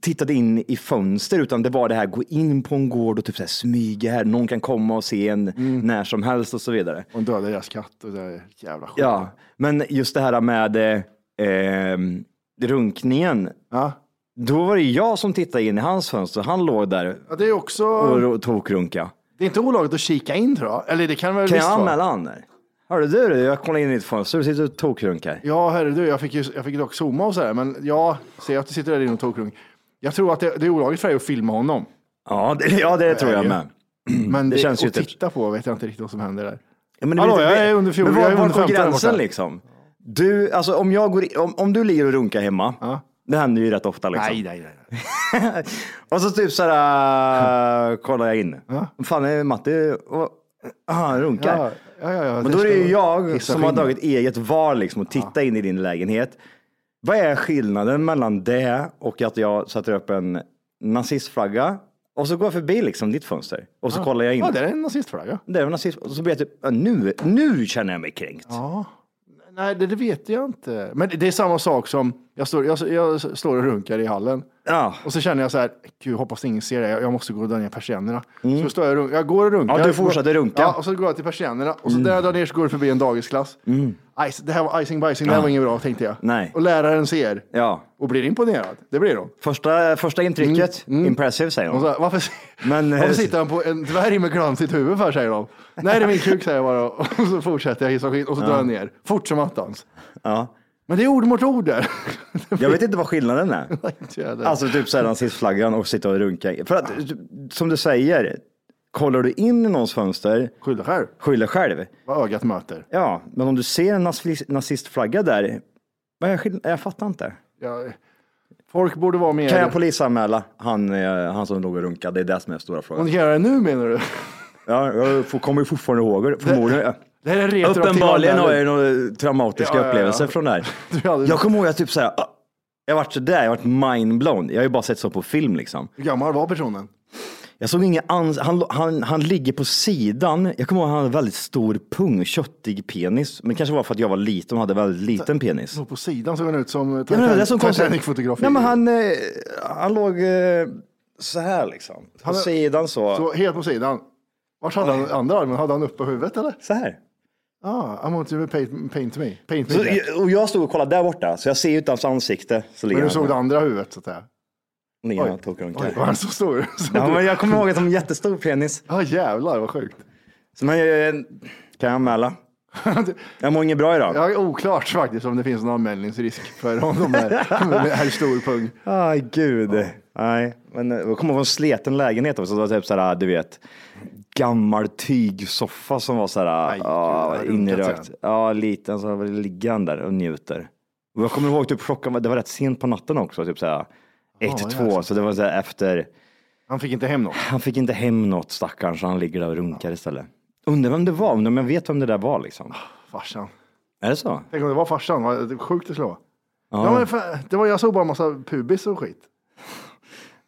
Speaker 3: tittade in i fönster utan det var det här gå in på en gård och typ så här, smyga här. Någon kan komma och se en
Speaker 7: Mm.
Speaker 3: när som helst och så vidare.
Speaker 7: Och dödade deras katt och det där jävla skit.
Speaker 3: Ja, men just det här med eh, eh, runkningen.
Speaker 7: Ja.
Speaker 3: Då var det jag som tittade in i hans fönster. Han låg där
Speaker 7: Ja, det är också...
Speaker 3: och ro- tokrunka.
Speaker 7: Det är inte olagligt att kika in tror jag. Eller det kan väl
Speaker 3: Kan
Speaker 7: visst
Speaker 3: jag
Speaker 7: vara.
Speaker 3: anmäla han? där? Hörru du, jag kollar in i ditt fönster och sitter och tokrunkar.
Speaker 7: Ja, herre du, jag fick, ju, jag fick dock zooma och sådär, men ja, ser jag att du sitter där inne och tog krung. Jag tror att det, det är olagligt för dig att filma honom.
Speaker 3: Ja, det, ja, det tror jag med.
Speaker 7: Men det,
Speaker 3: Det känns
Speaker 7: känns
Speaker 3: ju
Speaker 7: att
Speaker 3: typ-
Speaker 7: titta på vet jag inte riktigt vad som händer där.
Speaker 3: Ja, men det
Speaker 7: Hallå,
Speaker 3: blir inte-
Speaker 7: jag är under 14,
Speaker 3: Men var,
Speaker 7: jag är
Speaker 3: var
Speaker 7: under
Speaker 3: går
Speaker 7: 15 där
Speaker 3: gränsen
Speaker 7: borta.
Speaker 3: liksom? Du, alltså om, jag går, i- om, om du ligger och runkar hemma, det händer ju rätt ofta liksom.
Speaker 7: Nej, nej, nej.
Speaker 3: Och så typ så här, äh, kollar jag in. Fan, är Matti, och, aha, han runkar.
Speaker 7: Ja, ja, ja, ja,
Speaker 3: Men då är det ju
Speaker 7: ska-
Speaker 3: jag
Speaker 7: hissa
Speaker 3: som har
Speaker 7: skinn.
Speaker 3: dragit eget val liksom och tittat in i din lägenhet. Vad är skillnaden mellan det och att jag sätter upp en nazistflagga och så går jag förbi liksom ditt fönster och så kollar jag in.
Speaker 7: Ja, det är en nazistflagga.
Speaker 3: Det är en nazist. Och så blir jag typ, ja, nu, nu känner jag mig kränkt.
Speaker 7: Ja. Nej, det, det vet jag inte. Men det är samma sak som, jag står, jag, jag står och runkar i hallen.
Speaker 3: Ja.
Speaker 7: Och så känner jag så här, gud hoppas ingen ser det, jag, jag måste gå och dra ner persiennerna. Så står jag, och runk- jag går och runkar.
Speaker 3: Mm. Ja, du fortsätter runka.
Speaker 7: Ja, och så går jag till persiennerna och så
Speaker 3: Mm.
Speaker 7: när jag drar ner så går det förbi en dagisklass.
Speaker 3: Mm.
Speaker 7: Aj, det här var icing bajsing, det här
Speaker 3: Ja.
Speaker 7: var inget bra tänkte jag.
Speaker 3: Nej.
Speaker 7: Och läraren ser
Speaker 3: Ja.
Speaker 7: och blir imponerad. Det blir de.
Speaker 3: Första, första intrycket, impressive säger
Speaker 7: Mm. Och
Speaker 3: hon.
Speaker 7: så här, varför,
Speaker 3: Men, eh,
Speaker 7: varför sitter han på en dvärg med glansigt huvud för säger de. Nej det är min kuk säger jag bara och så fortsätter jag hissa skinn och så
Speaker 3: Ja.
Speaker 7: drar jag ner. Fort som attans.
Speaker 3: Ja.
Speaker 7: Men det är ord mot ord där.
Speaker 3: Jag vet inte vad skillnaden är.
Speaker 7: Inte jag heller.
Speaker 3: Alltså typ såhär nazistflaggan och sitta och runka. För att som du säger, kollar du in i någons fönster.
Speaker 7: Skyll dig själv.
Speaker 3: Skyll dig själv.
Speaker 7: Vad ögat möter.
Speaker 3: Ja, men om du ser en nazis- nazistflagga där. Vad är skill- jag fattar inte.
Speaker 7: Jag, folk borde vara mer...
Speaker 3: Kan jag polisanmäla han, eh, han som låg och runkade? Det är det som är den stora
Speaker 7: Om
Speaker 3: frågan.
Speaker 7: du kan göra det nu menar du?
Speaker 3: Ja, jag får- kommer ju fortfarande ihåg det, förmodligen.
Speaker 7: Det här är retroaktiv
Speaker 3: Uppenbarligen har jag ju
Speaker 7: användning.
Speaker 3: några traumatiska
Speaker 7: Ja, ja, ja.
Speaker 3: upplevelser från det här. Jag kommer ihåg att jag typ så här, ah, jag vart så där, jag vart mindblown. Jag har ju bara sett så på film liksom.
Speaker 7: Hur gammal var personen?
Speaker 3: Jag såg ingen ans- han, han, han ligger på sidan. Jag kommer ihåg att han hade väldigt stor pung, köttig penis. Men det kanske var för att jag var liten och hade väldigt liten penis.
Speaker 7: Så på sidan såg han ut som
Speaker 3: Ja, men det är det som konstigt.
Speaker 7: Titanic-fotografi.
Speaker 3: Nej, men han, eh, han låg eh, så här liksom. På
Speaker 7: Han-
Speaker 3: sidan så.
Speaker 7: Så helt på sidan. Vart hade han andra armen? Hade han uppe på huvudet eller?
Speaker 3: Så här.
Speaker 7: Ja, ah, I want you to paint, paint me. Paint me
Speaker 3: Så,
Speaker 7: black.
Speaker 3: och jag stod och kollade där borta, så jag ser ut hans ansikte. Så ligger
Speaker 7: Men
Speaker 3: han
Speaker 7: du såg
Speaker 3: där.
Speaker 7: det andra huvudet så att säga.
Speaker 3: Ligger
Speaker 7: Oj.
Speaker 3: han och tokrunkar.
Speaker 7: Oj, var han så stor? Så
Speaker 3: Ja,
Speaker 7: du-
Speaker 3: men jag kommer ihåg att de har jättestor penis.
Speaker 7: Ja, jävlar vad sjukt.
Speaker 3: Så man, eh, kan jag anmäla? Jag mår inget bra idag.
Speaker 7: Ja, det är oklart faktiskt om det finns någon anmälningsrisk för honom där. med herr Storpung.
Speaker 3: Aj, gud. Nej, men eh, jag kommer från en sleten lägenhet också. Det var typ så här, du vet, gammal tygsoffa som var så här, ja,
Speaker 7: vad runkat
Speaker 3: inrökt.
Speaker 7: sen.
Speaker 3: Ja, liten. Så ligger han där och njuter. Och jag kommer ihåg typ klockan, var- det var rätt sent på natten också, typ så här, ett,
Speaker 7: Ah, Ja,
Speaker 3: två. Så det var så här efter,
Speaker 7: Han fick inte hem något.
Speaker 3: han fick inte hem något stackarn så han ligger där och
Speaker 7: Ah.
Speaker 3: runkar istället. Undrar vem det var, undrar om jag vet vem det där var liksom.
Speaker 7: Farsan.
Speaker 3: Är det så?
Speaker 7: Tänk om det var farsan, vad sjukt det skulle vara.
Speaker 3: Ja.
Speaker 7: Ja. men fan, det var, jag såg bara en massa pubis och skit.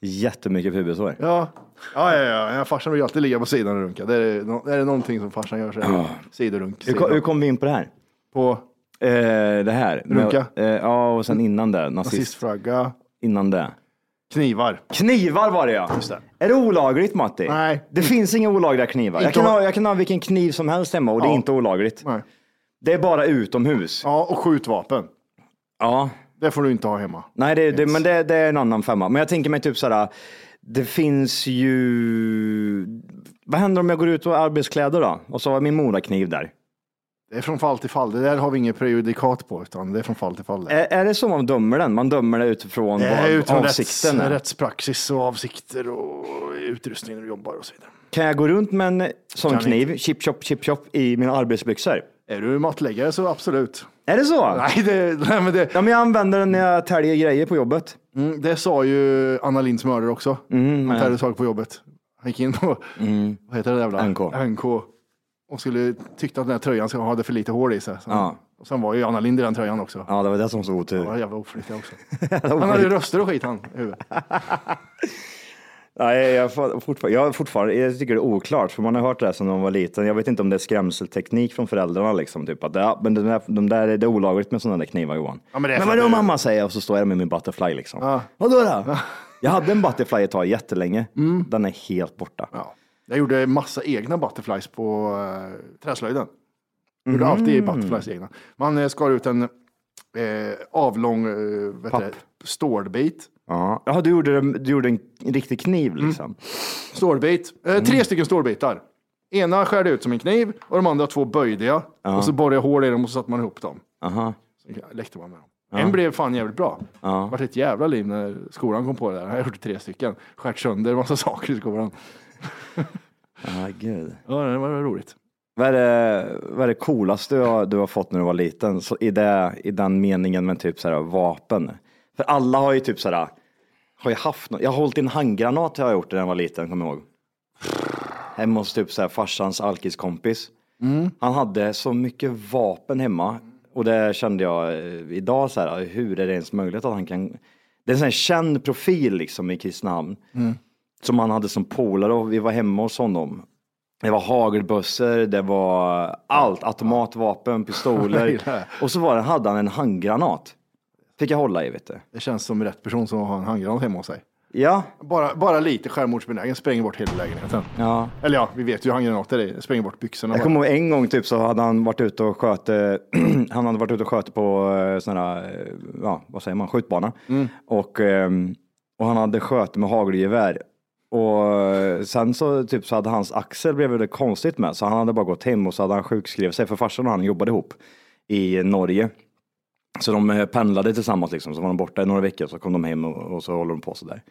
Speaker 3: Jättemycket pubisår.
Speaker 7: Ja, ja, ja, ja. ja farsan vill ju alltid ligga på sidan och runka. Det är, no- är det någonting som farsan gör så är det sidorunk.
Speaker 3: Hur, kom, hur
Speaker 7: sidorunk.
Speaker 3: kom vi in på det här?
Speaker 7: På
Speaker 3: Eh, det här? med-
Speaker 7: Runka?
Speaker 3: eh, ja, och sen innan det, nazist.
Speaker 7: nazistflagga,
Speaker 3: innan det.
Speaker 7: knivar.
Speaker 3: Knivar var det ja. Är det olagligt Matti?
Speaker 7: Nej.
Speaker 3: Det finns inga olagliga knivar. Jag
Speaker 7: Inte
Speaker 3: kan,
Speaker 7: om-
Speaker 3: ha, jag kan ha vilken kniv som helst hemma och det är
Speaker 7: Ja.
Speaker 3: inte olagligt.
Speaker 7: Nej.
Speaker 3: Det är bara utomhus.
Speaker 7: Ja, och skjutvapen.
Speaker 3: Ja.
Speaker 7: Det får du inte ha hemma.
Speaker 3: Nej, det, det, men det, det är en annan femma. Men jag tänker mig typ såhär, det finns ju... Vad händer om jag går ut och har arbetskläder då? Och så har jag min morakniv där.
Speaker 7: Det är från fall till fall. Det där har vi inget prejudikat på, utan det är från fall till fall.
Speaker 3: Är, är det så man dömer den? Man dömer det utifrån
Speaker 7: Det är
Speaker 3: vad
Speaker 7: Eh, utifrån
Speaker 3: avsikten
Speaker 7: rätts,
Speaker 3: är?
Speaker 7: rättspraxis och avsikter och utrustning när du jobbar och så vidare.
Speaker 3: Kan jag gå runt med en sån
Speaker 7: Kan
Speaker 3: kniv, chip chop, chip chop, i mina arbetsbyxor?
Speaker 7: Är du mattläggare så absolut.
Speaker 3: Är det så?
Speaker 7: Nej, det, nej men det,
Speaker 3: Ja, men jag använder den när jag täljer grejer på jobbet.
Speaker 7: mm, det sa ju Anna Linds mördare också. Han
Speaker 3: ja.
Speaker 7: tärde tag på jobbet. Han gick in på,
Speaker 3: Mm.
Speaker 7: vad heter det där jävla?
Speaker 3: NK.
Speaker 7: Och skulle tyckte att den här tröjan ska- hade för lite hår i sig. Så,
Speaker 3: Ja.
Speaker 7: Och sen var ju Anna Lind i den tröjan också.
Speaker 3: Ja, det var det som var så
Speaker 7: Det var
Speaker 3: otur.
Speaker 7: jävla oflyttig också. Han hade ju röster och skit han. i huvudet.
Speaker 3: Nej, jag, får- fortfar- jag, har fortfarande, jag tycker det är oklart, för man har hört det här sedan man var liten. Jag vet inte om det är skrämselteknik från föräldrarna. Liksom, typ, att, ja, men de där, de där, det är olagligt med sådana där knivar, Johan.
Speaker 7: Ja, men det är
Speaker 3: men
Speaker 7: för
Speaker 3: vadå
Speaker 7: att du-
Speaker 3: mamma säger? Och så står jag med min butterfly. Liksom.
Speaker 7: Ja. Mm.
Speaker 3: Vadå då? jag hade en butterfly ett tag, jättelänge. Den är helt borta.
Speaker 7: Ja. Jag gjorde massa egna butterflies på eh, träslöjden. Gjorde
Speaker 3: Mm.
Speaker 7: alltid butterflies egna. Man eh, skar ut en eh, avlång eh, vet
Speaker 3: Papp.
Speaker 7: det, stålbit.
Speaker 3: Ja. Jaha, du gjorde, du gjorde en riktig kniv liksom.
Speaker 7: Stålbit. Eh, Tre stycken stålbitar. Ena skärde jag ut som en kniv och de andra två böjde jag. Och så borrade jag hål i dem och så satte man ihop dem.
Speaker 3: Aha.
Speaker 7: Så lekte man med dem. En blev fan jävligt bra. Ja. Det var ett jävla liv när skolan kom på det där. Jag har gjort tre stycken. Skärt sönder en massa saker i skolan.
Speaker 3: Ja, gud.
Speaker 7: Ja, det var roligt.
Speaker 3: Vad är det, vad är det coolaste du har, du har fått när du var liten? Så i, det, I den meningen med typ så här vapen. För alla har ju typ så här, har ju haft något. Jag har hållit i en handgranat har jag gjort när jag var liten, kommer jag ihåg. Hemma hos typ så här farsans alkiskompis. Han hade så mycket vapen hemma och det kände jag eh, idag så här, hur är det ens möjligt att han kan. Det är en sån här känd profil liksom i Kristinehamn
Speaker 7: Mm.
Speaker 3: som han hade som polare och vi var hemma hos honom. Det var hagelbössor, det var allt, automatvapen, pistoler. och så var det, hade han en handgranat. Fick jag hålla i vet du.
Speaker 7: Det känns som rätt person som har en handgranat hemma hos sig.
Speaker 3: Ja.
Speaker 7: Bara, bara lite självmordsbenägen, spränger bort hela lägenheten.
Speaker 3: Ja.
Speaker 7: Eller ja, vi vet ju hur handgranater är, spränger bort byxorna.
Speaker 3: Jag
Speaker 7: bara.
Speaker 3: kommer ihåg en gång typ så hade han varit ute och sköt, eh, han hade varit ute och sköt på eh, sån här, eh, ja vad säger man, skjutbana. Och, ehm, och han hade sköt med hagelgevär. Och eh, sen så typ så hade hans axel blivit lite konstigt med, så han hade bara gått hem och så hade han sjukskrivit sig, för farsan och han jobbade ihop i Norge. Så de eh, pendlade tillsammans liksom, så var de borta i några veckor, så kom de hem och, och så håller de på sådär.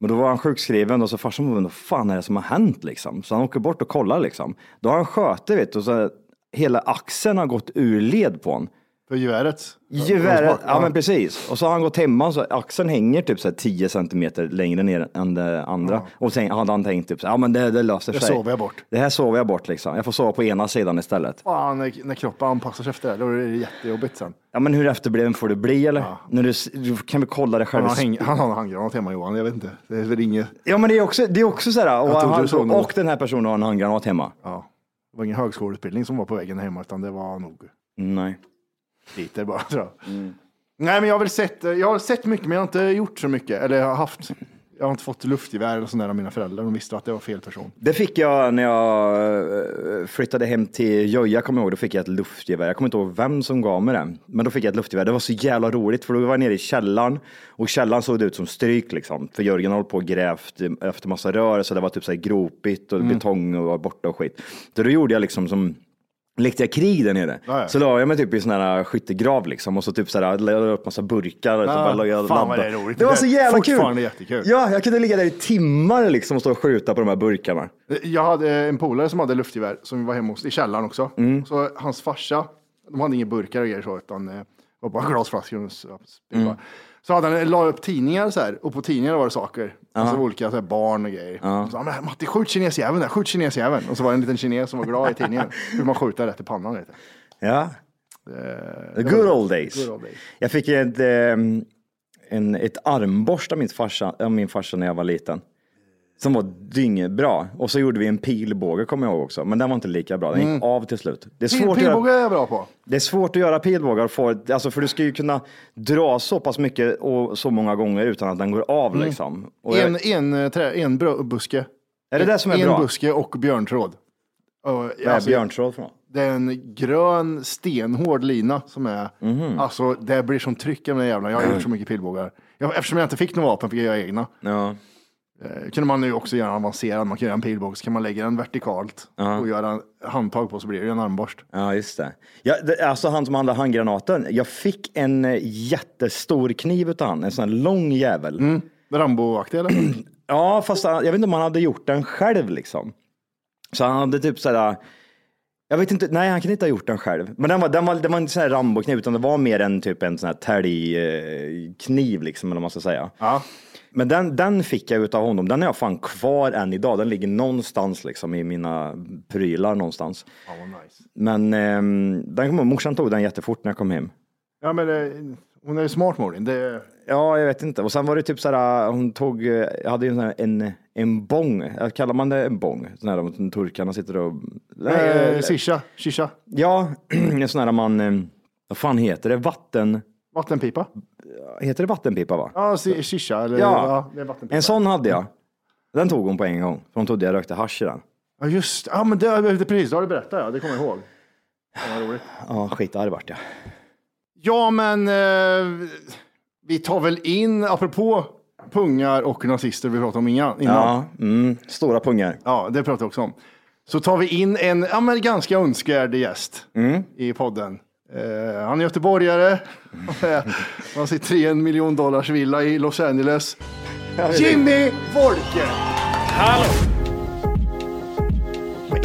Speaker 3: Men då var han sjukskriven och så farsan bara, vad fan är det som har hänt liksom? Så han åker bort och kollar liksom. Då har han skötit vet du, och så hela axeln har gått ur led på honom.
Speaker 7: För geväret?
Speaker 3: Geväret, ja men precis. Och så har han gått hemma så axeln hänger typ så här 10 centimeter längre ner än det andra. Och sen hade han tänkt typ så här, ja men det, det löser
Speaker 7: Det
Speaker 3: sig.
Speaker 7: sover jag bort.
Speaker 3: Det här sover jag bort liksom. Jag får sova på ena sidan istället.
Speaker 7: Fan, när, när kroppen anpassar sig efter det, då är det jättejobbigt sen.
Speaker 3: Ja men hur efterbliven får du bli eller? När du, s- du kan vi kolla det
Speaker 7: Han
Speaker 3: själv?
Speaker 7: har, häng, han har en handgranat hemma Johan, jag vet inte. Det är väl inget,
Speaker 3: Ja men det är också, det är också så här, och,
Speaker 7: Jag trodde
Speaker 3: han,
Speaker 7: du såg något.
Speaker 3: och den här personen har en handgranat hemma.
Speaker 7: ja, det var ingen högskoleutbildning som var på väggen hemma, utan det var nog
Speaker 3: Nej.
Speaker 7: lite bara tror jag. Nej, men jag har väl sett, jag har sett mycket, men jag har inte gjort så mycket. Eller jag har haft, jag har inte fått luftgevär eller sånt där av mina föräldrar. De visste att det var fel person.
Speaker 3: Det fick jag när jag eh, flyttade hem till Göja, kommer jag ihåg. Då fick jag ett luftgevär. Jag kommer inte ihåg vem som gav mig det. Men då fick jag ett luftgevär. Det var så jävla roligt för då var jag nere i källaren och källaren såg ut som stryk liksom. För Jörgen höll på och grävt efter massa rör så det var typ så här gropigt och
Speaker 10: Mm.
Speaker 3: betong och var borta och skit. Så då gjorde jag liksom som lekte jag krig där nere.
Speaker 10: Ja, ja.
Speaker 3: Så la jag mig typ i sån här skyttegrav liksom och så typ så här, la jag upp massa burkar. och så
Speaker 7: Ja,
Speaker 3: bara la jag
Speaker 7: fan vad
Speaker 3: ladda.
Speaker 7: det är roligt.
Speaker 3: Det var
Speaker 7: Det är
Speaker 3: så jävla kul.
Speaker 7: fortfarande jättekul.
Speaker 3: Ja, jag kunde ligga där i timmar liksom och stå och skjuta på de här burkarna.
Speaker 7: Jag hade en polare som hade luftgevär som var hemma hos, i källaren också.
Speaker 3: Mm.
Speaker 7: Så hans farsa, de hade inga burkar och grejer så, utan eh, var bara glasflaskor. Och så,
Speaker 10: Mm.
Speaker 7: så hade han la upp tidningar så här, och på tidningarna var det saker.
Speaker 10: Ja.
Speaker 7: Alltså olika så här, barn och grejer.
Speaker 10: Ja.
Speaker 7: Och Så, han, Matti, skjut kinesjäveln där, skjut kinesjäveln. Och så var det en liten kines som var glad i tidningen. Hur man skjuter rätt i pannan. Vet jag.
Speaker 3: Ja. The
Speaker 7: det
Speaker 3: good
Speaker 7: var-
Speaker 3: old days.
Speaker 7: good old days.
Speaker 3: Jag fick ett, ehm, en, ett armborst av min, farsa, av min farsa när jag var liten. Som var dyngbra. Och så gjorde vi en pilbåge kommer jag ihåg också. Men den var inte lika bra. Den gick
Speaker 7: Mm.
Speaker 3: av till slut. Det är
Speaker 7: Pil,
Speaker 3: svårt att göra
Speaker 7: pilbåge är jag bra på.
Speaker 3: det är svårt att göra pilbågar, och få, alltså för du ska ju kunna dra så pass mycket och så många gånger utan att den går av.
Speaker 7: Mm.
Speaker 3: Liksom. Och
Speaker 7: En,
Speaker 3: jag,
Speaker 7: en, eh, trä, en bra- buske.
Speaker 3: Är det det som är
Speaker 7: en
Speaker 3: bra?
Speaker 7: En buske alltså. och björntråd. Och, eh,
Speaker 3: vad är björntråd för något?
Speaker 7: Det är en grön stenhård lina som är,
Speaker 3: Mhm.
Speaker 7: alltså det blir som tryck av den jävla. Jag har gjort så mycket pilbågar. Jag, eftersom jag inte fick några vapen fick jag göra egna.
Speaker 3: Ja.
Speaker 7: Eh, kunde man nu också göra avancerad, man kan göra en pilbåge så kan man lägga den vertikalt
Speaker 3: Ja.
Speaker 7: och göra handtag på så blir det ju en armborst.
Speaker 3: Ja, just det. Ja, det. Alltså han som handlade handgranaten. Jag fick en eh, jättestor kniv utav han, en sån här lång jävel. Mm.
Speaker 7: Rambo-aktig eller?
Speaker 3: ja, fast han, jag vet inte om han hade gjort den själv liksom. Så han hade typ sådär, jag vet inte, nej han kan inte ha gjort den själv. Men den var, den var, den var inte sån här Rambo-kniv utan det var mer en typ en sån här täljkniv liksom eller vad man ska säga. Men den, den fick jag utav honom, den har jag fan kvar än idag. Den ligger någonstans liksom i mina prylar någonstans. Men ehm, den kom, morsan tog den jättefort när jag kom hem.
Speaker 7: Ja men eh, hon är ju smart Morin. Det,
Speaker 3: Ja, jag vet inte. Och sen var det typ så här, hon tog, eh, jag hade ju en, sån här- en, en bång, Eh, kallar man det en bång? Sån här de turkarna sitter och...
Speaker 7: nej, eh, sisha, shisha,
Speaker 3: Ja, en sån här man, eh, vad fan heter det, vatten...
Speaker 7: vattenpipa.
Speaker 3: Heter det vattenpipa va?
Speaker 7: Ja, si- shisha eller
Speaker 3: Ja.
Speaker 7: ja, det är vattenpipa.
Speaker 3: En sån hade jag. Den tog hon på en gång, för hon trodde jag rökte hasch i den.
Speaker 7: Ja just ja, men det, det, precis, det har du berättat ja, det kommer jag ihåg. Fan, vad roligt.
Speaker 3: Ja, skitarg vart jag.
Speaker 7: Ja men eh, vi tar väl in, apropå pungar och nazister vi pratade om innan.
Speaker 3: Ja, mm, stora pungar.
Speaker 7: Ja, det
Speaker 3: Mm.
Speaker 7: pratade jag också om. Så tar vi in en ja, men ganska önskvärd gäst i podden. Eh, han är göteborgare. han sitter i en miljon dollars villa i Los Angeles. Jimmy Wolke!
Speaker 10: Hallå!
Speaker 7: Men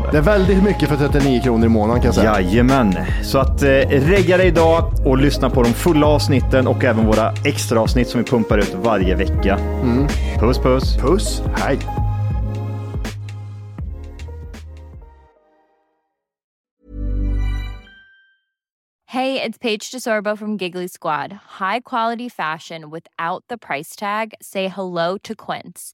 Speaker 3: det.
Speaker 7: Det är väldigt mycket för 39 kronor i månaden kan jag säga.
Speaker 3: Jajamän, så att eh, regga dig idag och lyssna på de fulla avsnitten och även våra extra avsnitt som vi pumpar ut varje vecka.
Speaker 7: Mm.
Speaker 3: Puss puss!
Speaker 7: Puss, hej!
Speaker 11: Hey, it's Paige DeSorbo from Giggly Squad. High quality fashion without the price tag. Say hello to Quince.